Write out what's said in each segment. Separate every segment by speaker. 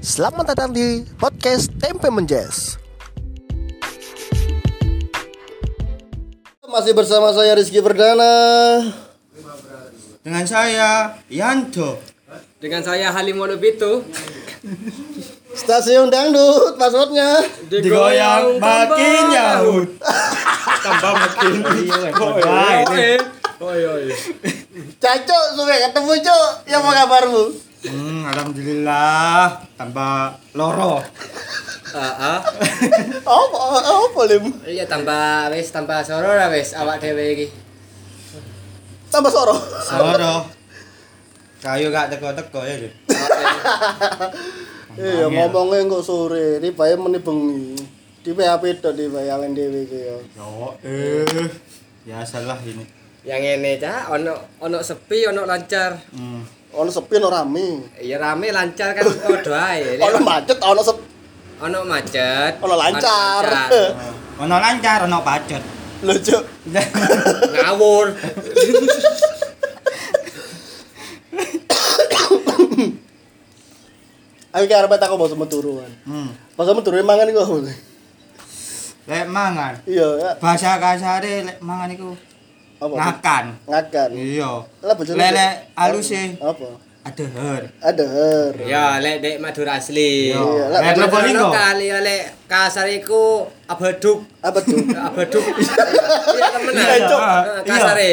Speaker 1: Selamat datang di podcast Tempe Menjes. Masih bersama saya Rizky Perdana.
Speaker 2: Dengan saya Yanto.
Speaker 3: Dengan saya Halim Walubito
Speaker 1: Stasiun Dangdut, passwordnya.
Speaker 2: Digoyang makin Yahud. Tambah makin. iya. Wah, ini.
Speaker 1: Cacok, suka ketemu Cok. Yang mau kabarmu?
Speaker 2: Hmm, alhamdulillah tambah loro.
Speaker 3: Heeh.
Speaker 1: Apa, apa lim?
Speaker 3: Ah, Iya tambah wis tambah soro lah wis awak dhewe iki.
Speaker 1: Tambah soro.
Speaker 2: Loro. Kayu gak teko-teko ya. Jun.
Speaker 1: Iya, ngomongnya kok sore. Ini bayar meni bengi. Di PHP dot di bayangan dewi ya.
Speaker 2: Yo, eh. Ya salah ini.
Speaker 3: Yang ngene cah ono ono sepi ono lancar.
Speaker 2: Hmm.
Speaker 1: Ono sepi, ono rame.
Speaker 3: Ya rame lancar kan padha ae. Lek
Speaker 1: Ono macet, ono sepi.
Speaker 3: Ono macet.
Speaker 1: Ono lancar.
Speaker 3: lancar.
Speaker 2: Ono lancar, ono pacet.
Speaker 1: Lho, Cok.
Speaker 3: Ngawur.
Speaker 1: Aku ki arep takon basa meturuan.
Speaker 2: Hmm.
Speaker 1: Basa meturu mangan iku apa?
Speaker 2: Lek mangan.
Speaker 1: kan Iya, ya.
Speaker 2: Bahasa kasare lek mangan iku
Speaker 1: apa?
Speaker 2: ngakan.
Speaker 1: Ngakan.
Speaker 2: Iya.
Speaker 1: Lah bojone.
Speaker 2: Lele
Speaker 3: e.
Speaker 2: aluse.
Speaker 1: Apa?
Speaker 2: Ada her.
Speaker 1: Ada her.
Speaker 3: Ya lek dek Madura asli.
Speaker 2: Iya.
Speaker 1: Iya,
Speaker 2: Lek
Speaker 3: Lek
Speaker 2: Probolinggo.
Speaker 3: Probolinggo kali lek kasar iku abaduk.
Speaker 1: Apa tuh?
Speaker 3: Abaduk. Iya temenan.
Speaker 1: Iya, Cok.
Speaker 3: Heeh, e. Kasare.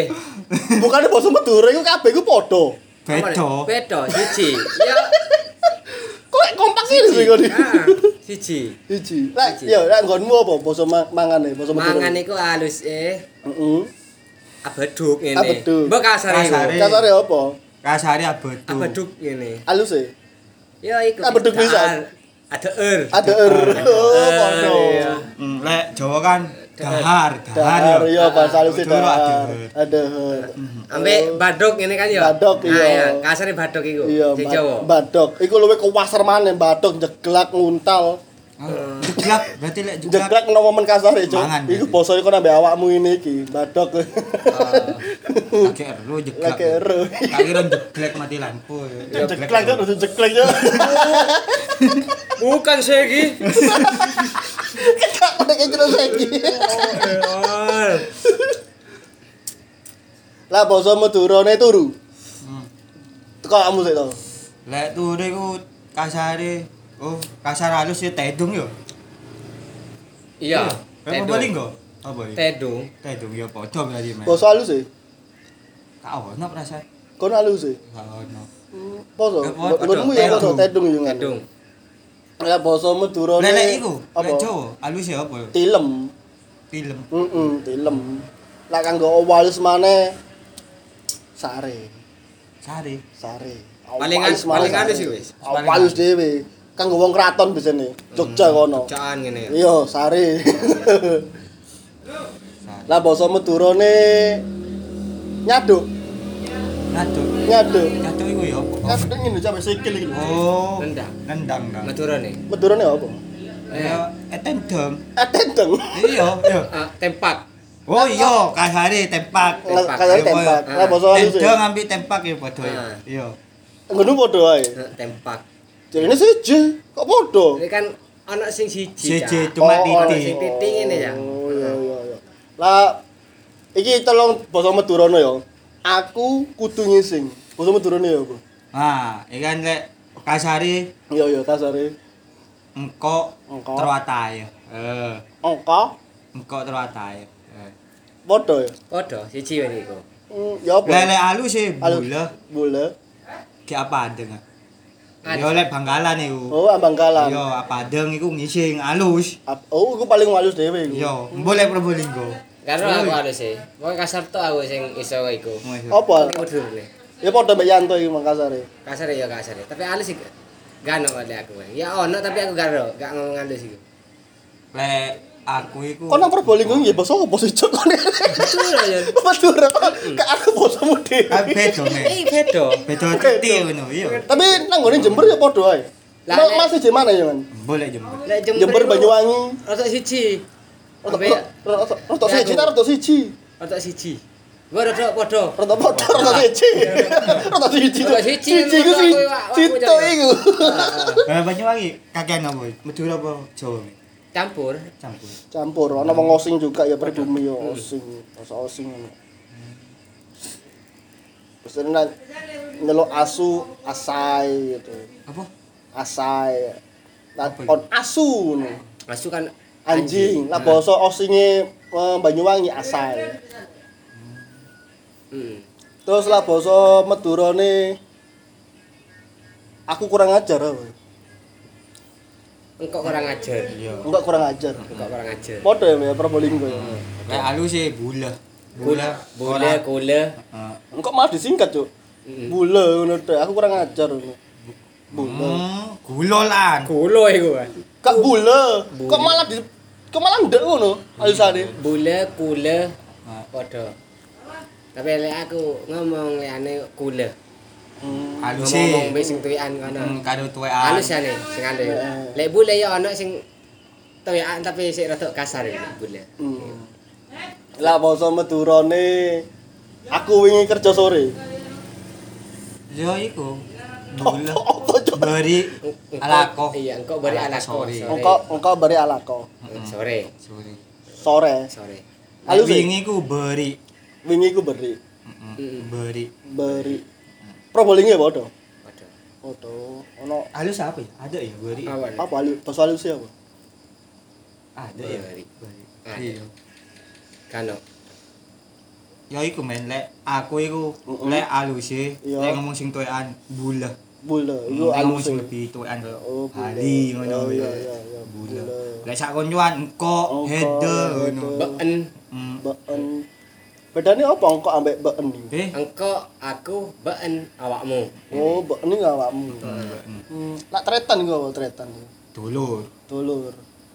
Speaker 1: Bukan basa meturu iku kabeh iku padha.
Speaker 2: Bedo.
Speaker 3: Bedo siji. Ya
Speaker 1: Kok lek kompak ngene sih kok.
Speaker 3: ah, siji.
Speaker 1: Siji. Lek
Speaker 3: Siji.
Speaker 1: ya lek nggonmu apa basa ma- mangane, basa meturu.
Speaker 3: Mangan iku halus eh
Speaker 1: Heeh.
Speaker 3: abeduk ngene.
Speaker 1: Abeduk.
Speaker 3: Mbok kasare iku.
Speaker 2: Kasare.
Speaker 1: Kasare apa?
Speaker 2: Kasare abedo.
Speaker 3: Abeduk ngene.
Speaker 1: Alus e.
Speaker 3: Ya iku.
Speaker 1: Abeduk
Speaker 3: kita-
Speaker 1: pisan.
Speaker 3: Ada er.
Speaker 1: Ada her. Oh, padha.
Speaker 3: Ah, Iya.
Speaker 2: Hmm, lek Jawa kan dahar,
Speaker 1: Dahar
Speaker 2: dahar yo.
Speaker 1: ya
Speaker 3: Ah,
Speaker 1: bahasa alus e
Speaker 2: Betul, ada
Speaker 1: dahar.
Speaker 2: her.
Speaker 1: Ada her.
Speaker 3: Hmm. Ambek baduk ngene kan ya.
Speaker 1: Baduk, iya.
Speaker 3: kasare baduk iku.
Speaker 1: Iya,
Speaker 3: Sing
Speaker 1: Mbak-
Speaker 3: Jawa.
Speaker 1: Badok. Iku luwe ke pasar maneh, Badok jeglak nguntal.
Speaker 2: Ah, Jeglak, berarti lek jeglak.
Speaker 1: Jeglak no momen kasar ya, Cuk.
Speaker 2: Mangan, Ah,
Speaker 1: Iku
Speaker 2: berarti.
Speaker 1: basa iku nambe awakmu ini iki, badok.
Speaker 2: Lagi ero oh, jeglak.
Speaker 1: Lagi ero.
Speaker 2: Tak kira jeglak mati lampu. ya.
Speaker 1: Jeglak kan udah jeglak ya.
Speaker 3: Bukan segi.
Speaker 1: Kak udah kayak jelas lagi. Lah basa Madurane turu.
Speaker 2: Hmm.
Speaker 1: Teko kamu sik to.
Speaker 2: Lek turu iku kasare oh, kasar halus ya tedung yo.
Speaker 3: Iya.
Speaker 2: Kayak balik go. Apa iki?
Speaker 3: Tedung.
Speaker 2: Tedung yo padha berarti men.
Speaker 1: Basa halus e.
Speaker 2: Kak ono perasaan.
Speaker 1: Kono halus e.
Speaker 2: Kak ono.
Speaker 1: Basa.
Speaker 2: Eh, padha,
Speaker 1: Nggonmu ya
Speaker 2: tedung.
Speaker 1: basa tedung yo kan.
Speaker 3: Tedung.
Speaker 1: Lah basa Madurane.
Speaker 2: Lek lek iku,
Speaker 1: apa?
Speaker 2: lek Jawa halus ya apa yo?
Speaker 1: Tilem.
Speaker 2: Film.
Speaker 1: Heeh, tilem. Lah kanggo walus maneh sare.
Speaker 2: Sari.
Speaker 1: Sare.
Speaker 3: Paling an- paling halus iku wis.
Speaker 2: Paling
Speaker 1: Awalus dhewe. Kanggo wong kraton bisane. Jogja kono.
Speaker 3: Caan ngene.
Speaker 1: Iya, sare. Lah basa Madurane nyaduk,
Speaker 2: Ngaduk.
Speaker 1: nyaduk.
Speaker 2: Ngaduk iku yo apa?
Speaker 1: Nyaduk ngene sampe sikil iki. lho.
Speaker 2: Oh.
Speaker 3: Nendang.
Speaker 2: Nendang. Kak.
Speaker 3: Madura nih.
Speaker 1: Madurane apa? Eh,
Speaker 2: Ya, etendem.
Speaker 1: Atendeng.
Speaker 2: Iya, iya.
Speaker 3: Ah, tempat.
Speaker 2: Oh iya, kasare tempak.
Speaker 3: Tempak.
Speaker 1: Kayak tempat.
Speaker 3: Ah.
Speaker 1: Lah basa halus.
Speaker 2: Tendang ngambil tempak ya padha ya.
Speaker 3: Ah.
Speaker 2: Iya.
Speaker 1: Ngono padha ae.
Speaker 3: Ah, Tempat.
Speaker 1: Jarine siji, kok padha?
Speaker 3: Ini kan anak sing siji. Cak.
Speaker 2: Siji
Speaker 1: Oh,
Speaker 2: cuma
Speaker 1: oh,
Speaker 3: sing
Speaker 2: titik.
Speaker 3: titik ngene ya.
Speaker 1: Oh iya iya iya. Lah iki tolong basa Madurane ya. Aku kudu ngising. Basa Madurane ya, Bu.
Speaker 2: Nah, iki kan lek kasare
Speaker 1: Iya iya kasare.
Speaker 2: engko
Speaker 1: Engko.
Speaker 2: terwatae. Eh,
Speaker 1: Angka
Speaker 2: engko terwatae. Eh.
Speaker 1: padha ya.
Speaker 3: Padha siji wae iku.
Speaker 1: Hmm, Ya
Speaker 2: Lek
Speaker 1: apa?
Speaker 2: lek alus sih
Speaker 1: Halo.
Speaker 2: bule
Speaker 1: Bule.
Speaker 2: ki apa adeng. Kak?
Speaker 3: Adeng.
Speaker 2: Yo lek bangkalan iku.
Speaker 1: Oh, ambang kalan.
Speaker 2: Yo apa adeng iku ngising alus.
Speaker 1: Ap- Oh, iku paling walus dhewe iku.
Speaker 2: Yo, boleh Probolinggo.
Speaker 3: Karo aku ada sih. Wong kasar tok aku sing iso wae iku.
Speaker 1: Apa?
Speaker 3: Kudur nih.
Speaker 1: Ya padha mbek Yanto iki e. Makassare.
Speaker 3: Kasar ya kasar. ya. Tapi alus iku. Gak ono oleh aku. Bang. Ya ono tapi aku gak ro, gak ngomong alus iku.
Speaker 2: Lek aku iku.
Speaker 1: Kok nang Probolinggo nggih basa apa sih cok kene?
Speaker 3: Betul ya.
Speaker 1: Madura ke aku basamu
Speaker 2: Kan
Speaker 1: dhewe.
Speaker 2: beda men.
Speaker 3: Eh beda.
Speaker 2: Beda titik ngono, iya.
Speaker 1: Tapi nang ngene Jember ya padha ae.
Speaker 3: Lah,
Speaker 1: Ma-
Speaker 3: nek-
Speaker 1: Masih di mana ya, Man?
Speaker 2: Boleh jemur.
Speaker 3: Lek
Speaker 1: Jember
Speaker 3: iku
Speaker 1: Banyuwangi.
Speaker 3: Rotok siji.
Speaker 1: Rotok
Speaker 3: Ambek
Speaker 1: rotok- rotok
Speaker 3: Nek
Speaker 1: siji,
Speaker 3: aku-
Speaker 1: rotok siji.
Speaker 3: rotok siji. Gua rodok podo.
Speaker 1: Rata motor, rata siji. Rata siji.
Speaker 3: Rata siji,
Speaker 1: Siji ku
Speaker 3: menurut
Speaker 1: siji.
Speaker 3: aku, Ah. aku
Speaker 1: Sito
Speaker 3: jago.
Speaker 1: iku.
Speaker 2: Nah, Eh, Banyuwangi kakean apa? Madura apa Jawa? Mi?
Speaker 3: Campur.
Speaker 2: Campur.
Speaker 1: Campur, ana wong osing juga ya pribumi ya
Speaker 2: Hmm.
Speaker 1: osing, bahasa osing. Terus ini nak nyeluk asu, asai gitu.
Speaker 2: Apa?
Speaker 1: Asai. Nah,
Speaker 2: Apa itu?
Speaker 1: on asu nih.
Speaker 3: Masuk kan
Speaker 1: anjing. Lah basa
Speaker 2: Nah.
Speaker 1: osinge eh, Banyuwangi asai.
Speaker 3: Hmm.
Speaker 1: Terus lah basa Madurane aku kurang ajar. apa?
Speaker 3: Engkau kurang ajar.
Speaker 2: Iya.
Speaker 1: Enggak kurang ajar.
Speaker 3: Engkau kurang ajar.
Speaker 1: Podo ya ya Probolinggo ya.
Speaker 2: Kayak alus sih bula.
Speaker 3: Gula, gula,
Speaker 2: orang-
Speaker 3: gula.
Speaker 2: Eh,
Speaker 1: Engkau malah disingkat, Cuk.
Speaker 2: Hmm.
Speaker 3: Mm.
Speaker 1: Bule ngono Dek. Aku kurang ajar ngono. Bule.
Speaker 2: Hmm, gula lan.
Speaker 3: Gula iku, Pak.
Speaker 1: Kak bule.
Speaker 3: Bule.
Speaker 1: Kok malah di kok malah ndek ngono alusane.
Speaker 3: Bula, gula,
Speaker 2: Eh,
Speaker 3: podo. Tapi lek aku ngomong liane gula.
Speaker 2: Alus
Speaker 3: Ngomong
Speaker 2: sih.
Speaker 3: wis sing tuwikan
Speaker 2: Hmm,
Speaker 3: kono.
Speaker 2: kado tuwean.
Speaker 3: Halus ya nih, sing ande.
Speaker 1: Heeh.
Speaker 3: Lek bula ya ono sing tuwikan tapi sik rodok kasar ya bula.
Speaker 1: Hmm. Lah basa Madurane aku wingi kerja sore.
Speaker 2: Yo iku. Bula.
Speaker 1: Apa, Cuk?
Speaker 2: Beri
Speaker 3: Engkau-
Speaker 2: alako.
Speaker 3: Iya, engkau beri alako.
Speaker 2: Sorry.
Speaker 3: Sore. Mm,
Speaker 1: Engkau engkau bari alako.
Speaker 3: Sore.
Speaker 2: Sorry.
Speaker 1: Sore.
Speaker 3: Sore.
Speaker 1: Alus sih?
Speaker 2: Wingi ku beri.
Speaker 1: Wingi ku beri.
Speaker 2: Mm-mm,
Speaker 3: Mm-mm.
Speaker 2: Beri.
Speaker 1: Beri. Probolinggo ya podo.
Speaker 3: Waduh.
Speaker 1: Podo. Ono
Speaker 2: Alus apa ya? Ada ya beri.
Speaker 3: Awan.
Speaker 1: apa alu basa alus ya apa?
Speaker 2: Ada ya.
Speaker 3: Beri.
Speaker 2: Beri.
Speaker 3: Ada.
Speaker 2: Iya.
Speaker 3: Kano.
Speaker 2: Ya iku men lek aku iku
Speaker 1: Mm-mm.
Speaker 2: lek alus sih.
Speaker 1: Iya.
Speaker 2: Lek ngomong sing tuwean bula.
Speaker 1: Bule. Iku
Speaker 2: Lek ngomong
Speaker 1: alus.
Speaker 2: sing
Speaker 1: ya.
Speaker 2: lebih tuwean koyo
Speaker 1: Oh, bula.
Speaker 2: hari
Speaker 1: Oh,
Speaker 2: ngono.
Speaker 1: iya, iya, iya,
Speaker 2: Bula.
Speaker 1: bula.
Speaker 2: Lek sak koncoan engko
Speaker 1: Engko,
Speaker 2: hede ngono.
Speaker 1: hede.
Speaker 3: Beken.
Speaker 2: Mm.
Speaker 1: Beken. Bedane apa engko ambek beken iki?
Speaker 2: Eh,
Speaker 3: Engkau, aku, beken, awakmu.
Speaker 1: Oh, beken iki awakmu.
Speaker 2: Ừ,
Speaker 1: Hmm, lak tretan iku apa tretan? iku?
Speaker 2: dulur.
Speaker 1: Dulur.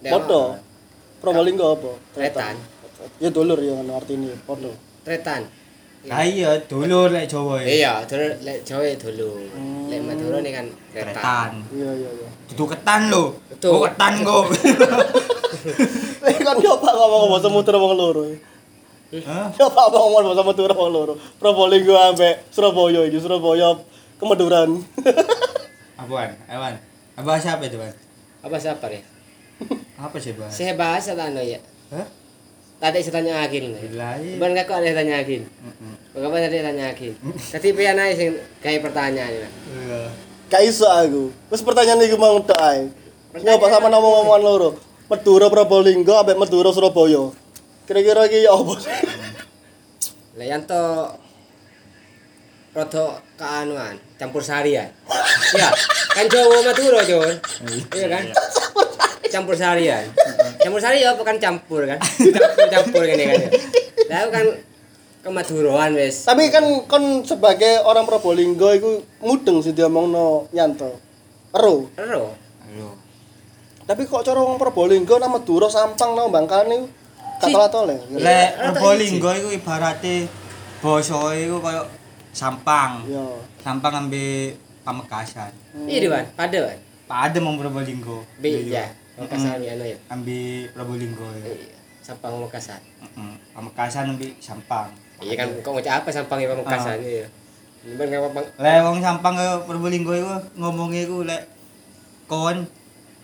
Speaker 3: Nek
Speaker 1: Podo.
Speaker 3: apa?
Speaker 1: Probolinggo apa?
Speaker 3: Tretan.
Speaker 1: Ya dulur ya ngono artine podo.
Speaker 3: Tretan.
Speaker 2: Ah iya, dulur lek Jawa ya.
Speaker 3: Iya, dulu lek Jawa ya dulu. Lek Madura nih kan tretan.
Speaker 2: Ketan.
Speaker 1: Iya iya iya.
Speaker 2: Dudu ketan lho.
Speaker 3: Betul.
Speaker 2: Kok ketan kok.
Speaker 1: Eh kan nyoba ngomong basa mutur wong loro.
Speaker 2: Hah?
Speaker 1: Nyoba ngomong basa mutur wong loro. Probolinggo ambek Surabaya iki Surabaya kemeduran.
Speaker 2: Apaan? Ewan. Bahasa apa itu, Bang?
Speaker 3: Apa siapa ya?
Speaker 2: Apa sih bahasa?
Speaker 3: Saya bahasa tano ya.
Speaker 2: Hah?
Speaker 3: Tadi saya tanya Agin.
Speaker 2: Bilahi.
Speaker 3: Bukan kau ada yang tanya Agin.
Speaker 2: Ừ,
Speaker 3: Bagaimana tadi yang tanya Agin? Tadi pian aja sing kayak pertanyaan ya.
Speaker 2: Iya.
Speaker 1: Gak iso aku. Wis pertanyaan iku mau tok ae. Nyoba sama nama ngomongan loro. Madura Probolinggo ambek Madura Surabaya. Kira-kira iki ya apa sih?
Speaker 3: Lek yang to rodo keanuan campur sari ya. Iya, kan Jawa Madura, Jon. Iya kan? Campur sari ya. Campur sari ya apa kan campur kan? Campur-campur gini kan. ya. Lah aku kan ke Maduroan wis.
Speaker 1: Tapi kan kon sebagai orang Probolinggo iku mudeng sih diomongno nyanto. Ero.
Speaker 3: Ero.
Speaker 2: Halo.
Speaker 1: Tapi kok cara wong Probolinggo nang Madura Sampang nang Bangkalan iku gak telat tole.
Speaker 2: Lek
Speaker 3: Iya,
Speaker 2: Probolinggo iku ibarate basa iku koyo sampang.
Speaker 1: Ya.
Speaker 2: Sampang ambe Pamekasan.
Speaker 3: Iya di Wan, pada Wan.
Speaker 2: Padha mong Probolinggo.
Speaker 3: B ya.
Speaker 2: Iya, Mm-mm.
Speaker 3: Makassar ya no ya.
Speaker 2: Ambe Probolinggo. ya.
Speaker 3: Iya. Sampang Makassar.
Speaker 2: Mm-mm. Pamekasan ambe Sampang.
Speaker 3: Iya kan kok ngocak apa Sampang ya Makassar ya. Nyimpen apa Bang?
Speaker 2: Lek wong Sampang kaya Probolinggo iku ngomongnya iku lek kon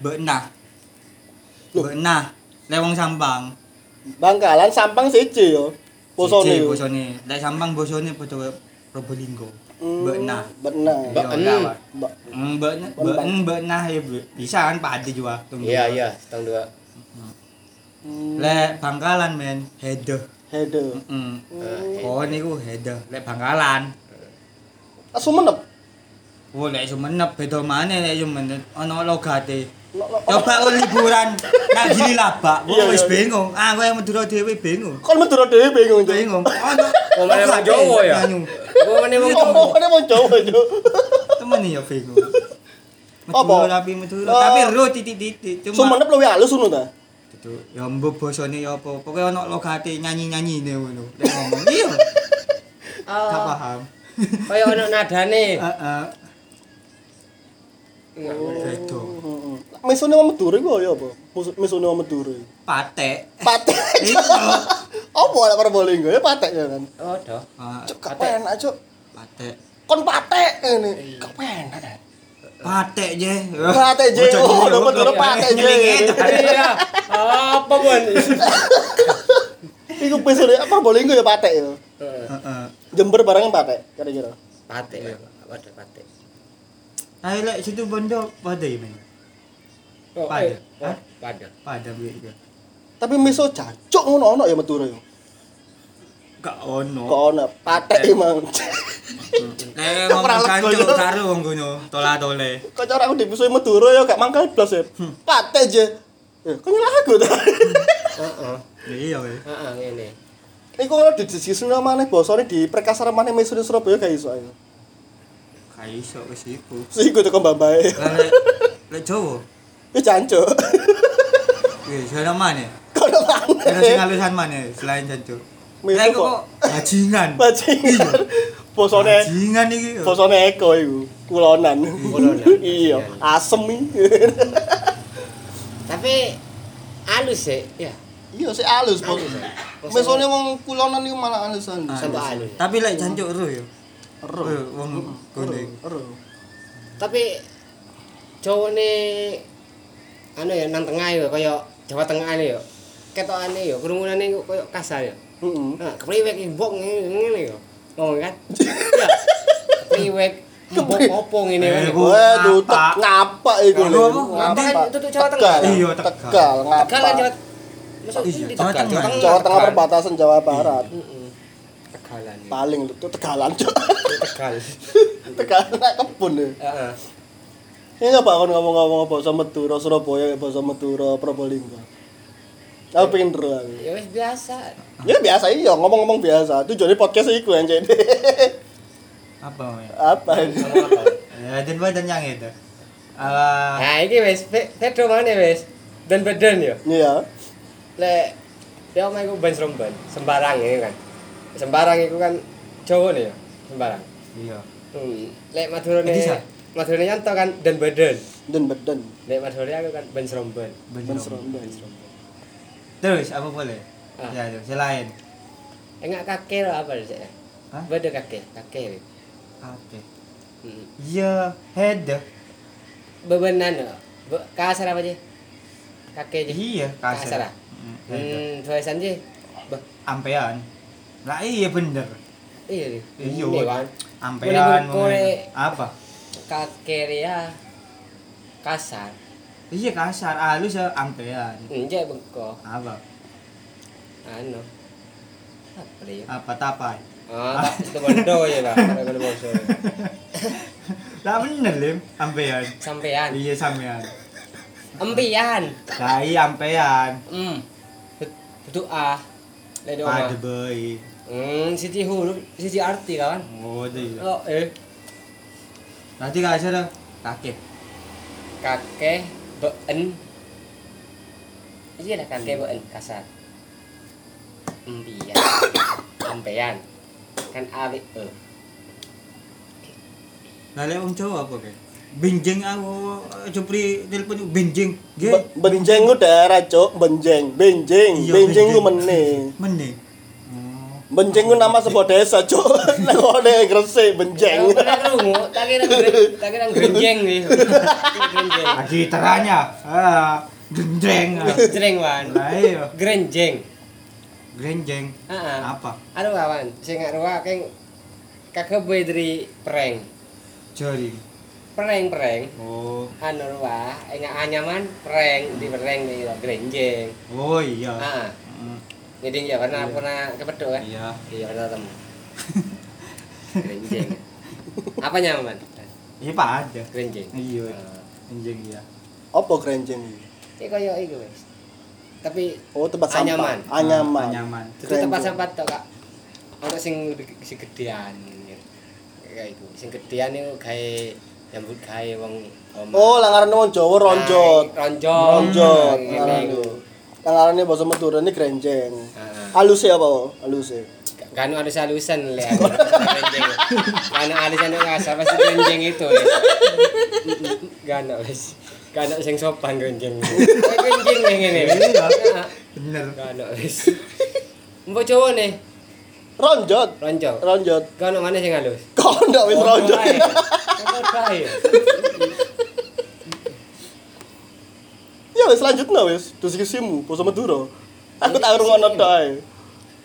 Speaker 2: benah. Benah. Lek wong Sampang.
Speaker 1: Bangkalan Sampang siji yo. Bosone
Speaker 2: siji
Speaker 1: yo.
Speaker 2: Bosone. Lek Sampang bosone padha kaya Probolinggo.
Speaker 1: Hmm,
Speaker 2: Benah.
Speaker 1: Benah.
Speaker 2: Yo,
Speaker 3: Ba- Beken.
Speaker 2: gawat.
Speaker 1: Ba-
Speaker 2: Mm, Benah,
Speaker 1: Kon bak-
Speaker 2: ben- benah ya Bu. bisa kan Pak Adi juga. tunggu.
Speaker 3: Iya iya, tahun dua.
Speaker 1: Hmm,
Speaker 2: Lek Bangkalan men hede.
Speaker 1: Hede.
Speaker 2: Mm.
Speaker 1: Oh.
Speaker 3: Eh,
Speaker 2: Kon iku hede. Lek Bangkalan.
Speaker 1: Ah, Sumenep.
Speaker 2: Oh lek Sumenep beda maneh lek Sumenep ana logate.
Speaker 1: Lo- lo-
Speaker 2: Coba kon liburan nang gili labak,
Speaker 1: Iya,
Speaker 2: kowe wis
Speaker 1: iya.
Speaker 2: bingung. Ah, kowe Madura dhewe bingung.
Speaker 1: Kon Madura dhewe bingung Cuk.
Speaker 2: Bingung. Ono.
Speaker 3: Oh, malah orang Jawa ya?
Speaker 2: Banyu.
Speaker 3: Gua meneh wong Jawa.
Speaker 1: Oh, ada mau Jawa Cuk.
Speaker 2: Temen ya bingung.
Speaker 1: Apa?
Speaker 2: Madura tapi Madura,
Speaker 1: Eh,
Speaker 2: tapi ro titik-titik cuma.
Speaker 1: Sumenep luwih halus ngono ta?
Speaker 2: Itu ya mbok basane ya apa. Pokoke ono logate nyanyi-nyanyine ngono. Lek ngomong iya. Gak
Speaker 3: Oh,
Speaker 2: paham.
Speaker 3: kaya ono nadane.
Speaker 2: Heeh.
Speaker 3: Enggak boleh.
Speaker 2: Beda.
Speaker 1: Heeh. Mesone wong Madura iku ya apa? Mesone wong Madura.
Speaker 2: Patek.
Speaker 1: Patek.
Speaker 2: Iya.
Speaker 1: Apa lek Probolinggo ya patek ya kan.
Speaker 3: Oh, doh.
Speaker 2: Pa-
Speaker 1: Cuk, gak penak, Cuk.
Speaker 2: Ah, Patek.
Speaker 1: Kon patek
Speaker 2: Iya.
Speaker 1: ngene. Gak penak.
Speaker 2: Patek je.
Speaker 1: Patek je.
Speaker 2: Bocah
Speaker 1: Oh,
Speaker 2: cilik,
Speaker 1: nomor
Speaker 2: bocah
Speaker 1: loro
Speaker 2: cilik.
Speaker 1: patek je.
Speaker 2: Nyelingi,
Speaker 3: Iya. Apa pun.
Speaker 1: Iku besok ya Probolinggo ya patek ya.
Speaker 2: Heeh.
Speaker 1: Jember barangnya patek kira-kira.
Speaker 3: Pate. Waduh, pate.
Speaker 2: Ayo lek situ bondo padai men.
Speaker 3: Oh,
Speaker 2: Pate.
Speaker 3: ayo. Hah? Pate.
Speaker 2: Pada biar dia.
Speaker 1: Tapi miso jancuk ngono ono ya Madura ya.
Speaker 2: Gak ono.
Speaker 1: Kok ono patek emang.
Speaker 2: Lek ngomong
Speaker 1: Peralat
Speaker 2: kancu
Speaker 1: gono.
Speaker 2: karo wong gono tola tole.
Speaker 1: Kok cara aku dimusuhi Madura ya gak mangkal blas ya.
Speaker 2: Hmm.
Speaker 1: Patek je. Eh, kok nyerah aku ta?
Speaker 3: Heeh.
Speaker 2: Iya weh.
Speaker 3: Heeh, ngene.
Speaker 1: Iku ngono di sisi maneh basane di perkasar maneh miso di Surabaya gak iso ayo.
Speaker 2: Gak iso wis iku.
Speaker 1: Sing kudu kembang
Speaker 2: Lah lek lek Jawa.
Speaker 1: Ya jancuk.
Speaker 2: Weh, jalan mana?
Speaker 1: Kono
Speaker 2: Jalan sing
Speaker 1: maneh.
Speaker 2: alusan mana selain jancu?
Speaker 1: Miso
Speaker 2: Lah iku
Speaker 1: kok.
Speaker 2: kok bajingan.
Speaker 1: Bajingan. Bosone
Speaker 2: Bajingan iki.
Speaker 1: bosone Eko iku. Kulonan.
Speaker 3: Kulonan.
Speaker 1: Iya, asem iki.
Speaker 3: Tapi halus sih. Ya.
Speaker 1: Iya sih alus bos.
Speaker 3: Alus, ya?
Speaker 1: Mesone wong kulonan iku malah alus alus.
Speaker 3: Sampai halus.
Speaker 2: Tapi lek jancuk ero yo.
Speaker 1: Ah, Ero.
Speaker 2: Eh, Wong gono iku.
Speaker 1: Ero.
Speaker 3: Tapi Jawa ne anu ya nang tengah ya kaya Jawa Tengah ne ya. Ketokane ya kerungunane kok kaya kasar ya.
Speaker 1: Heeh.
Speaker 3: Nah, kepriwek iki mbok ngene ngene ya. Ngomong kan? Iya. Kepriwek mbok opo ngene kan. ya.
Speaker 2: Eh, Bu,
Speaker 1: Waduh,
Speaker 2: ngapak.
Speaker 1: tek- ngapak iku
Speaker 2: Ngapak
Speaker 1: lho.
Speaker 2: apa?
Speaker 1: Ngapak.
Speaker 3: Ngapak kan tutup Jawa Tengah.
Speaker 1: Tegal.
Speaker 2: Iya, Tegal.
Speaker 1: Tegal, ngapak.
Speaker 3: Tegal kan Jawa Masuk
Speaker 2: Iya,
Speaker 3: di
Speaker 2: Jawa
Speaker 3: Tegal,
Speaker 2: Tengah.
Speaker 1: Jawa Tengah
Speaker 3: Tegal.
Speaker 1: perbatasan Jawa Barat.
Speaker 3: Mm-mm. Tegalan ya.
Speaker 1: Paling lho, tuh Tegalan. Cuk.
Speaker 3: Tegal.
Speaker 1: Tegalan nak kebun ya.
Speaker 3: Heeh.
Speaker 1: Ini apa aku ngomong-ngomong bahasa Madura Surabaya, bahasa Madura Probolinggo. Aku pengen terus aku.
Speaker 3: Ya wis biasa.
Speaker 1: Ya biasa iya, ngomong-ngomong biasa. Tujuannya podcast iku yang jadi.
Speaker 2: Apa weh?
Speaker 1: Apa ini?
Speaker 2: Eh, dan badan yang itu. Ala
Speaker 3: Nah, iki wis pe- pedo mana wis? Dan badan ya.
Speaker 1: Iya.
Speaker 3: Lek ya omah iku ban seromban, sembarang ya kan. Sembarang iku kan Jawa nih ya, sembarang.
Speaker 2: iya.
Speaker 3: Hmm. Lek Madura nih,
Speaker 2: Jadi, Sa?
Speaker 3: Madura nih nyanto kan dan badan.
Speaker 1: Dan beden.
Speaker 3: Lek Madura aku kan ban seromban.
Speaker 1: Ben
Speaker 2: Bener.
Speaker 1: seromban.
Speaker 2: Terus apa boleh?
Speaker 3: Ah.
Speaker 2: Ya, terus selain.
Speaker 3: Enggak kakek lah apa sih? ya?
Speaker 2: Hah?
Speaker 3: Beda kakek, kakek.
Speaker 2: Oke.
Speaker 3: Hmm.
Speaker 2: Iya, head.
Speaker 3: Bebenan ya. Be- kasar apa sih? Kakek sih.
Speaker 2: Iya,
Speaker 3: Kasar,
Speaker 2: kasar.
Speaker 3: ah?
Speaker 2: Mm, head.
Speaker 3: Hmm, tulisan sih. Be-
Speaker 2: Ampean. Lah iya bener.
Speaker 3: Iya,
Speaker 2: Iya.
Speaker 3: Ini kan.
Speaker 2: Ampean.
Speaker 3: Boleh, boleh.
Speaker 2: mungkin. Apa?
Speaker 3: Kakek ya kasar.
Speaker 2: Iya kasar, halus ya ampean.
Speaker 3: Enggak bengkok.
Speaker 2: Apa?
Speaker 3: anu apa ya
Speaker 2: Apa tapai?
Speaker 3: ah tak- itu bondo ya pak Sampai bondo bondo.
Speaker 2: Lah bener lim, ampean.
Speaker 3: sampean
Speaker 2: Iya sampean.
Speaker 3: empian
Speaker 2: Lah iya ampean.
Speaker 3: hmm itu ah dari
Speaker 2: Pade
Speaker 3: oma
Speaker 2: boy.
Speaker 3: hmm siji huruf siji arti kawan
Speaker 2: Oh, iya.
Speaker 3: oh eh
Speaker 2: Nanti kasar ya. Kakek.
Speaker 3: kakek been iya lah kakek been kasar empian sampean kan awik e
Speaker 2: Lah lek wong Jawa apa kae? Benjing aku cupri telepon benjing. Ge.
Speaker 1: Be- Benjeng ku daerah, Cuk. Benjeng, benjeng,
Speaker 2: Iya,
Speaker 1: benjeng ku
Speaker 2: benjing.
Speaker 1: meneh.
Speaker 2: Mene. Oh.
Speaker 1: Benjeng ku nama sebuah desa, Cuk. Nang ngene Gresik
Speaker 3: Aku
Speaker 1: Benjeng.
Speaker 3: pernah kerungu, tak kira gre- tak kira grenjeng nih. Grenjeng.
Speaker 2: Lagi teranya. Ah, gendreng. ah.
Speaker 3: Jreng wan.
Speaker 2: Lah iya,
Speaker 3: Grenjeng.
Speaker 2: grenjeng.
Speaker 3: Heeh.
Speaker 2: Apa?
Speaker 3: Aduh kawan, sing gak ruwak keng kakek boy dari prank.
Speaker 2: Jari.
Speaker 3: Prank prank.
Speaker 2: Oh.
Speaker 3: Anu ruwak, enggak anyaman prank di prank di grenjeng.
Speaker 2: Oh iya.
Speaker 3: Heeh.
Speaker 2: Mm,
Speaker 3: Ngiding ya pernah pernah eh. kepedok kan?
Speaker 2: Iya.
Speaker 3: Iya pernah ketemu. Grenjeng. Apa nyaman?
Speaker 2: Iya Pak ada.
Speaker 3: Grenjeng.
Speaker 2: Iya.
Speaker 3: Heeh.
Speaker 2: Benjing ya.
Speaker 1: Apa grenjeng iki?
Speaker 3: Iki Ah. koyo iki wis. Tapi
Speaker 1: Oh, tempat sampah.
Speaker 3: Anyaman.
Speaker 1: Anyaman.
Speaker 2: Ah, Anyaman.
Speaker 3: itu
Speaker 1: Grenjeng.
Speaker 3: tempat sampah tok kak ono sing gede- sing gedean gitu. kayak iku sing gedean itu gawe nyambut gawe wong omah.
Speaker 1: Oh, lah ngarane wong Jawa ronjot.
Speaker 3: Nah, ronjot
Speaker 1: Ronjot.
Speaker 3: ngene iku Ah.
Speaker 1: Lah ngarane basa Madura ini grenjeng.
Speaker 3: Heeh.
Speaker 1: Aluse apa? wo? Aluse.
Speaker 3: kan ada salusan le aku Renjeng. kan ada sana ngasar pasti renjeng itu ya kan wis kan sing sopan renjeng renjeng yang ngene
Speaker 2: Iya. Bener.
Speaker 3: kan wis Mbok Jawa nih,
Speaker 1: Ronjot.
Speaker 3: ronco.
Speaker 1: Ronjot.
Speaker 3: Kau nang mana sing halus?
Speaker 1: Kau ndak wis ronjot.
Speaker 3: Kau bae.
Speaker 1: Ya wis lanjutno wis. Dus kisimu, basa Madura. Aku tak ngrungokno tok ae.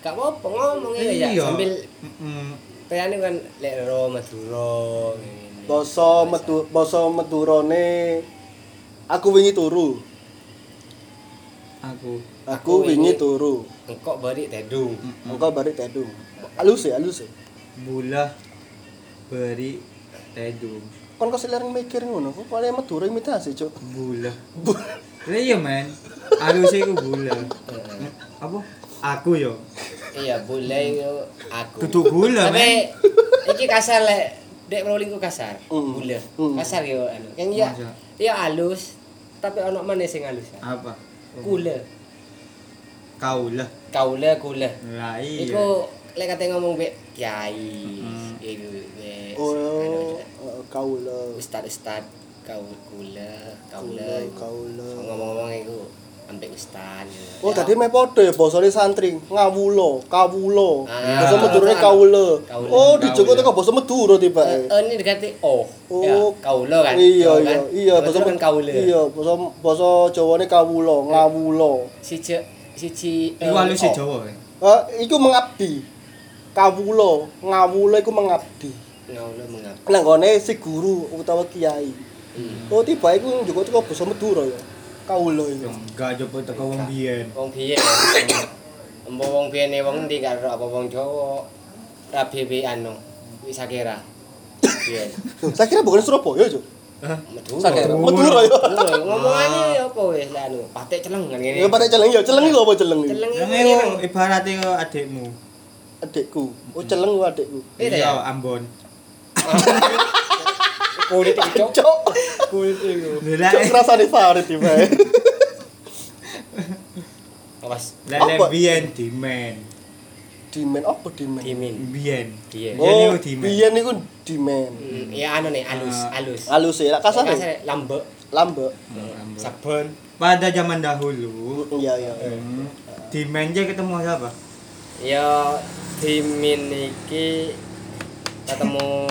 Speaker 3: Gak apa-apa ngomong ya
Speaker 2: Iya.
Speaker 3: sambil
Speaker 2: Mm-mm.
Speaker 3: kayane kan lek ro Madura. ngene.
Speaker 1: Basa medu basa Madurane aku wingi turu.
Speaker 2: aku
Speaker 1: Aku
Speaker 3: Aku
Speaker 1: wingi
Speaker 3: wingi.
Speaker 1: turu.
Speaker 3: Engkok bari tedung.
Speaker 1: Engkau bari tadu. Alus ya, alus ya.
Speaker 2: bulah beri tedung
Speaker 1: Kon kok selering mikir ngono, kok paling Madura imitasi, Cuk.
Speaker 2: bulah Lah iya men halusnya aku bulah apa aku yo
Speaker 3: Iya,
Speaker 1: Hmm.
Speaker 3: boleh yo aku.
Speaker 2: Duduk gula,
Speaker 3: Tapi iki kasar lek dek rolling ku kasar.
Speaker 1: Mm.
Speaker 3: Gula.
Speaker 1: Mm.
Speaker 3: Kasar yo anu. Kan ya
Speaker 2: Masa?
Speaker 3: ya halus, tapi ono meneh sing halus.
Speaker 1: Hmm.
Speaker 2: apa
Speaker 3: Kula.
Speaker 2: kau lah
Speaker 3: Kaula kula.
Speaker 2: lah iya
Speaker 3: Iku lek kate ngomong be kiai.
Speaker 2: Mm.
Speaker 3: Iku wes.
Speaker 1: Hmm. Oh, kau
Speaker 3: Ustad ustad kau kula,
Speaker 1: Kula,
Speaker 3: kaula.
Speaker 1: kaula.
Speaker 3: Ngomong-ngomong iku ambek ustad.
Speaker 1: Oh, tadi mek padha ya basane santri, ngawula, kawula.
Speaker 3: Ah,
Speaker 1: Basa Madurane kawula.
Speaker 3: Kawula.
Speaker 1: Oh, dijoko
Speaker 2: Kawula.
Speaker 1: teko basa Madura tibake.
Speaker 3: Eh, ini dekati oh. Ya,
Speaker 1: Oh,
Speaker 3: kaula kan.
Speaker 1: Iya,
Speaker 3: Kaula
Speaker 1: iya,
Speaker 3: kan?
Speaker 1: iya,
Speaker 3: Betul kan Eh. kaula.
Speaker 1: Iya, basa basa Jawane kawula, ngawula.
Speaker 3: siji siji
Speaker 2: iku halusnya
Speaker 3: Oh.
Speaker 2: jawa kan
Speaker 1: Eh, iku mengabdi. Kawula, ngawula iku mengabdi.
Speaker 3: ngono mengapa
Speaker 1: Nang gone si guru utawa kiai. Oh, tiba iku njoko teko basa Madura ya. Kawula
Speaker 2: Yo,
Speaker 1: iku.
Speaker 2: enggak coba teko wong biyen
Speaker 3: wong piye embo wong piye ne wong ndi karo apa wong Jawa rabi be anu wis sakira piye
Speaker 1: Saya kira bukan Surabaya, Cuk.
Speaker 3: meduro
Speaker 1: Sakira.
Speaker 2: Madura.
Speaker 1: Madura ya.
Speaker 3: Meduro. ngomongane ya apa wis lah anu patek celeng kan ngene
Speaker 1: Ya pada celeng ya, celeng iku apa celeng iku?
Speaker 3: celeng
Speaker 2: Yang
Speaker 3: ngene
Speaker 2: itu ibaratnya ke adikmu
Speaker 1: Adikku. Oh, celeng ku adikku.
Speaker 3: Iya, ya?
Speaker 2: Iya, Ambon
Speaker 3: kulit cocok
Speaker 1: Cok.
Speaker 2: Kulit itu
Speaker 1: Cok rasane sare tiba.
Speaker 3: awas
Speaker 2: Lele
Speaker 1: Apa?
Speaker 2: biyen dimen
Speaker 1: Dimen apa dimen?
Speaker 3: dimin
Speaker 2: Biyen Biyen
Speaker 3: Biyen.
Speaker 1: Oh,
Speaker 2: itu dimen
Speaker 1: biyen niku dimen.
Speaker 3: Hmm, ya anu nih alus
Speaker 2: Ah.
Speaker 3: alus
Speaker 1: Alus ya, lak kasar. ya?
Speaker 3: Kasar, lambek
Speaker 1: Lambek.
Speaker 2: Oh, Ambon.
Speaker 3: saben
Speaker 2: Pada zaman dahulu
Speaker 1: Iya, iya. iya.
Speaker 2: hmm, Dimen aja ketemu siapa?
Speaker 3: ya dimin iki ketemu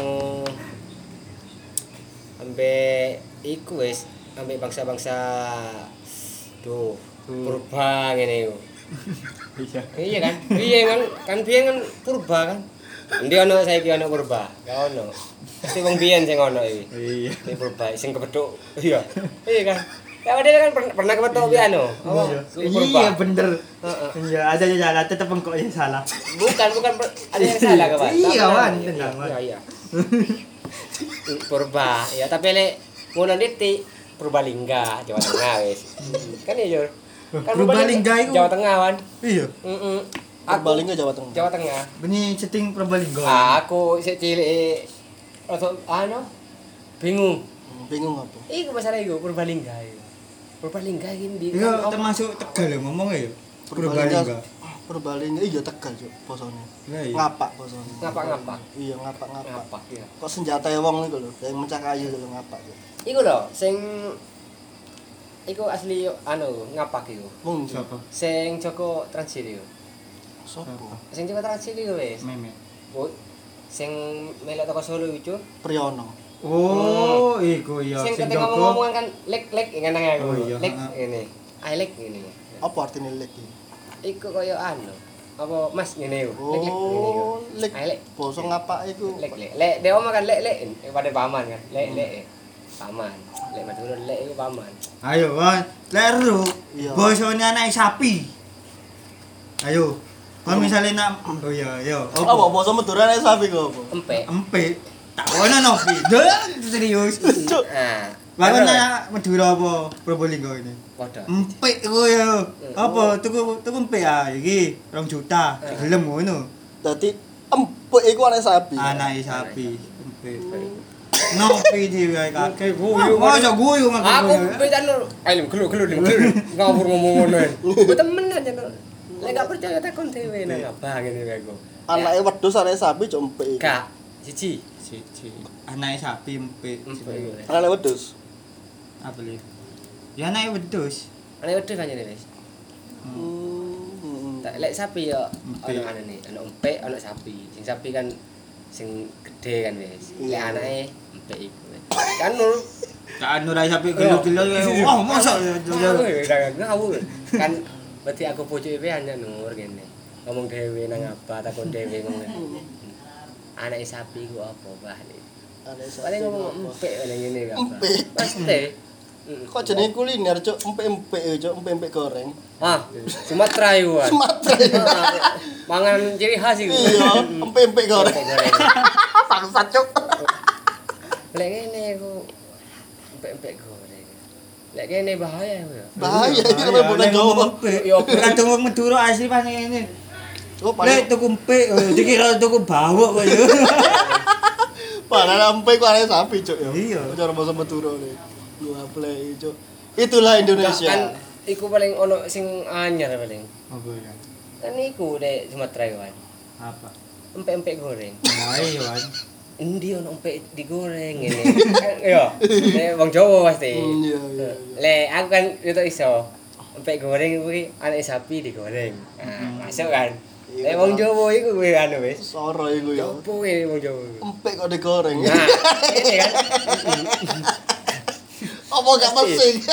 Speaker 3: ambek iku wis ambek bangsa-bangsa duh
Speaker 1: Hmm.
Speaker 3: purba ngene iku
Speaker 2: Iya
Speaker 3: iya kan piye kan kan piye kan purba kan Ndi ono saiki ono purba, gak ono. Mesti wong biyen sing ono iki.
Speaker 2: Iya
Speaker 3: Ini purba sing kepethuk. Iya. Iya kan. Ya padahal kan pern- pernah kepethuk pian no. Apa? Purba.
Speaker 2: Iya bener
Speaker 3: Heeh.
Speaker 2: Iya ada aja salah, tetep engkau yang salah
Speaker 3: Bukan, bukan per- ada yang salah kawan.
Speaker 2: Iya,
Speaker 3: Tak
Speaker 2: Wan,
Speaker 3: benar.
Speaker 2: tenang, Wan.
Speaker 3: Iya, iya. Purba, ya tapi lek ngono titik Purbalingga, Jawa Tengah wis. Kan ya, Jur.
Speaker 2: Purbalingga iku-
Speaker 3: Jawa Tengah, Wan.
Speaker 2: Iya
Speaker 3: Heeh. Aku
Speaker 1: Balik ke Jawa Tengah.
Speaker 3: Jawa Tengah. Ah,
Speaker 2: Ini setting Probolinggo
Speaker 3: Aku sik cilik eh, rada anu bingung.
Speaker 1: Hmm, Bingung apa?
Speaker 3: Iku masalah iku Purbalingga iku. Purbalingga iki ndi?
Speaker 2: Iya termasuk Tegal ya ngomongnya ya Probolinggo
Speaker 1: Purbalingga iya Tegal, Cuk, bosone.
Speaker 2: Lah iya.
Speaker 1: Ngapak bosone.
Speaker 3: Ngapak-ngapak.
Speaker 1: Iya, ngapak-ngapak.
Speaker 3: Apa? Iya.
Speaker 1: Kok senjata wong iku lho, yang mencak kayu lho ngapak. Cuk.
Speaker 3: Iku lho sing iku asli anu ngapak iku.
Speaker 1: Wong ndi?
Speaker 2: Siapa?
Speaker 3: sing Joko Transit iku.
Speaker 1: Sopo?
Speaker 3: Sing Joko Transit iku wis.
Speaker 2: Memet
Speaker 3: Bu, sing melok toko Solo iku. Cuk.
Speaker 1: Priyono.
Speaker 2: Oh, iku ya
Speaker 3: Sing
Speaker 2: sing
Speaker 3: ketika
Speaker 2: Joko.
Speaker 3: ngomong-ngomongan kan lek-lek ngene nang aku.
Speaker 2: Oh, iya.
Speaker 3: Lek
Speaker 2: Ha.
Speaker 3: ngene. I lek ngene.
Speaker 1: Apa artine lek iki?
Speaker 3: Iku koyo anu. Apa Mas ngene iku. Lek lek ngene iku.
Speaker 1: Oh, lek.
Speaker 3: I lek.
Speaker 1: Basa ngapak iku.
Speaker 3: Lek lek. Lek dia omong kan lek lek pada paman kan. Lek lek.
Speaker 2: Hmm.
Speaker 3: Paman. Lek Madura lek iku paman.
Speaker 2: Ayo, Wan. Leru.
Speaker 1: Iya.
Speaker 2: Bosone anak sapi. Ayo. Kalau misalnya nak Oh iya, iya.
Speaker 1: Apa basa Madura nek sapi ku apa?
Speaker 3: Empek.
Speaker 2: Empe. Tak ono nopi. Duh, serius.
Speaker 1: Cuk.
Speaker 3: Nah.
Speaker 2: Baru
Speaker 3: anu lek,
Speaker 2: nak Madura apa Probolinggo ini?
Speaker 3: Padha.
Speaker 2: Empe ku ya.
Speaker 3: Eh,
Speaker 2: Apa tuku tuku empe ah iki 2 juta.
Speaker 3: Eh.
Speaker 2: Gelem ngono.
Speaker 1: Dadi empuk iku anak sapi.
Speaker 2: Anak sapi. Empe. Nopi dhewe kakek guyu.
Speaker 3: Wah,
Speaker 2: Ojo guyu
Speaker 3: Aku
Speaker 2: ngakak.
Speaker 3: pecan nur. Ayo Eh, gelu gelu gelu. Ngawur ngomong ngono. Ku temen aja nur. Lek gak percaya takon dhewe nang abang ngene wae aku. Ya,
Speaker 1: Anake wedhus anak sapi cuk empuk iku.
Speaker 3: Gak. Siji.
Speaker 2: Anak sapi empe.
Speaker 3: Empek iku. lek.
Speaker 1: Anake wedhus.
Speaker 2: apa li ya naik wedus
Speaker 3: Ana wedhus aja nih, Wis.
Speaker 1: Hmm.
Speaker 3: Tak- Lek sapi ya
Speaker 2: Empik.
Speaker 3: ana anane, ana empik, ana sapi. Sing sapi kan sing gede kan wis. Lek
Speaker 1: Iya.
Speaker 3: anake empik iku. Kan nur
Speaker 2: Kan ora sampe gelo-gelo ya. Oh, masa ya.
Speaker 3: Ngawur, jangan ngawur. Kan berarti aku pucuke pe hanya nur ngene. Ngomong dhewe nang apa takon dhewe ngomong. Anake sapi ku apa bahane?
Speaker 1: Ada
Speaker 3: Paling
Speaker 1: satu apa.
Speaker 3: ngomong empik paling ngene kan.
Speaker 1: Empik.
Speaker 3: Pasti.
Speaker 1: Mm, Kok jenenge kuliner, Cuk? Empek-empek, ya, Cuk. Empek-empek goreng.
Speaker 3: Ah, Sumatera iku. Wan.
Speaker 1: Sumatera. ya.
Speaker 3: Ah, Mangan ciri khas iku. Mm.
Speaker 1: Iya, empek-empek goreng.
Speaker 3: Goreng.
Speaker 1: Bangsat, Cuk.
Speaker 3: Lek ngene aku empek-empek goreng. Lek ngene bahaya aku ya.
Speaker 1: Bahaya iki namanya bulan Jawa.
Speaker 2: Yo ora tuku Madura asli pas ngene.
Speaker 1: Oh, paling
Speaker 2: Lek tuku empik, oh, dikira tuku bawok kok yo.
Speaker 1: Padahal empek ku arek sapi, Cuk, ya.
Speaker 2: Iya.
Speaker 1: Cara bahasa Madura ne. Lu aplek, Cuk. Itulah Indonesia.
Speaker 3: Kan iku paling ono sing anyar paling.
Speaker 2: Apa ya?
Speaker 3: Kan iku dek Sumatera iku. Wan.
Speaker 2: Apa?
Speaker 3: Empek-empek goreng.
Speaker 2: Nah, iya, Wan.
Speaker 3: Endi ono empek digoreng ngene. Kan, Yo, lek wong Jawa pasti.
Speaker 1: Hmm, iya, iya, iya.
Speaker 3: Lek aku kan itu iso. Empek goreng kuwi anak sapi digoreng. Nah, masuk kan.
Speaker 1: Iya,
Speaker 3: Lek wong
Speaker 1: betul.
Speaker 3: Jawa iku kuwi anu wis.
Speaker 1: Soro iku ya.
Speaker 3: Apa kuwi wong Jawa? iku?
Speaker 1: Empek kok digoreng.
Speaker 3: Nah, ini kan.
Speaker 1: Apa gak mesin?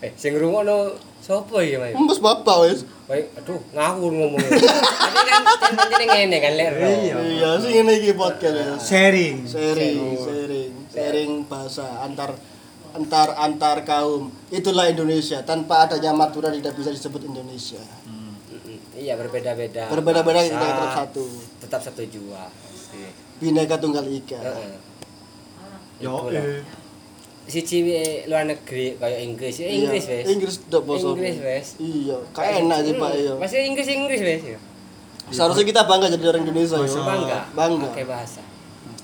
Speaker 3: Eh, sing ngrungokno sapa iki, Mas?
Speaker 1: Embus bapak wis.
Speaker 3: Baik, aduh, ngawur ngomong. Tapi kan pancene ngene kan lek ro.
Speaker 2: Iya.
Speaker 1: Iya, sing ngene iki podcast
Speaker 3: Iya.
Speaker 1: ya.
Speaker 2: Sharing.
Speaker 1: Sharing, sharing, sharing bahasa antar antar antar kaum. Itulah Indonesia. Tanpa adanya Madura tidak bisa disebut Indonesia.
Speaker 2: Ừ.
Speaker 3: Mm-mm. Iya, berbeda-beda.
Speaker 1: Berbeda-beda kita
Speaker 3: Bahasa,
Speaker 1: tetap satu.
Speaker 3: Tetap satu jua. Pasti.
Speaker 1: Bineka Tunggal Ika. Iya.
Speaker 3: Heeh.
Speaker 2: Yo.
Speaker 3: Itulah. Siji we luar negeri kaya Inggris, ya Inggris
Speaker 1: Iya,
Speaker 3: wes.
Speaker 1: Inggris dok bos.
Speaker 3: Inggris wes.
Speaker 1: Iya, kayak enak sih Pak iya.
Speaker 3: Masih Inggris Inggris wes. ya.
Speaker 1: Seharusnya kita bangga jadi orang Indonesia ya.
Speaker 3: Bangga.
Speaker 1: Bangga.
Speaker 3: Pakai bahasa.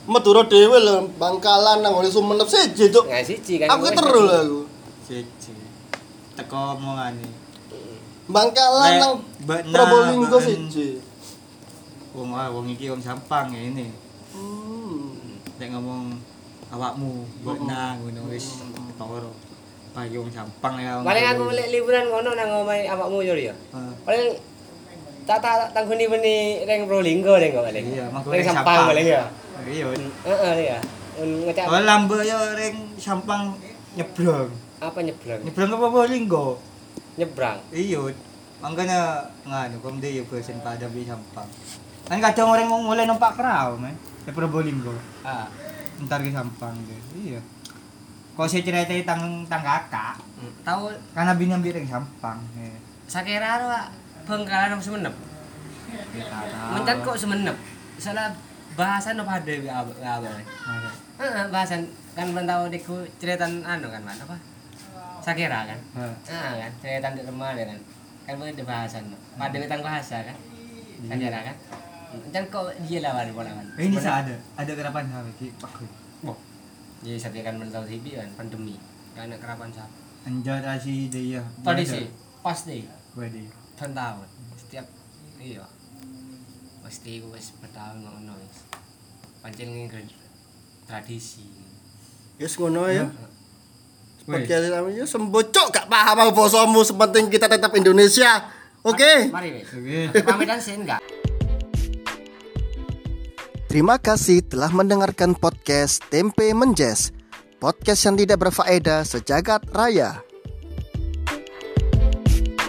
Speaker 1: Madura dhewe lho, Bangkalan nang oleh Sumenep siji cuk.
Speaker 3: Nggak siji kan.
Speaker 1: Aku
Speaker 3: wes.
Speaker 1: keteru lho aku.
Speaker 2: Siji. Teko omongane.
Speaker 1: Bangkalan
Speaker 2: Nek,
Speaker 1: nang
Speaker 2: Mbak Na,
Speaker 1: Probolinggo
Speaker 2: Mbak En.
Speaker 1: siji.
Speaker 2: Wong ah, wong iki wong Sampang ya ini.
Speaker 1: Hmm.
Speaker 2: Nek ngomong à, awakmu, mbok nang ngono wis toro. Payo wong Sampang ya.
Speaker 3: Paling aku lek liburan ngono nang omahe awakmu yo ya.
Speaker 2: Heeh.
Speaker 3: Paling tak tak tangguni meni ring Probolinggo ring kok paling.
Speaker 2: Iya, mangko
Speaker 3: ring
Speaker 2: ning
Speaker 3: Sampang paling ya.
Speaker 2: Iya.
Speaker 3: Heeh iya. Un ngecak
Speaker 2: Oh lambe yo ring Sampang nyebrang.
Speaker 3: apa nyebrang?
Speaker 2: Nyebrang ke Probolinggo.
Speaker 3: Nyebrang.
Speaker 2: Iya. Mangkana nganu komde yo bosen pada bi Sampang. Kan kadang orang mau mulai numpak perahu men. Ke Probolinggo. Ah. Ntar ke Sampang deh. Iya. Kok saya ceritain tang tang kakak.
Speaker 3: mm,
Speaker 2: Tahu karena bini ambil ring Sampang. Iya.
Speaker 3: Sakira ro anu, Pak. Bengkalan nang Sumenep. Mencan kok Sumenep. Salah bahasan apa ada ya abang. Heeh, bahasan kan mentau diku ceritan anu kan Mas apa? Sakira kan. Ah kan, ceritan di rumah ya kan. Kan boleh dibahasan.
Speaker 2: Hmm.
Speaker 3: Pada wetan bahasa kan. Sakira kan. Mencan kok dia lawan polawan.
Speaker 2: Eh, Ini saya ada, ada kerapan HP ki Pak Gun.
Speaker 3: Boh. Jadi saya kan mentau TV kan pandemi. Kan anak kerapan siapa?
Speaker 2: Anjar asi dia.
Speaker 3: Tradisi pasti.
Speaker 2: Wedi.
Speaker 3: tahun tahun setiap iya pasti aku wis bertahun ngono wis pancen ngger tradisi
Speaker 1: Yes ngono ya.
Speaker 2: Nah, Wes.
Speaker 1: Podcast kami ya sembocok gak paham aku bosomu sepenting kita tetap Indonesia. Oke.
Speaker 3: mari wis
Speaker 2: Eh! Oke.
Speaker 3: pamitan sih enggak
Speaker 1: Terima kasih telah mendengarkan podcast Tempe Menjes. Podcast yang tidak berfaedah sejagat raya.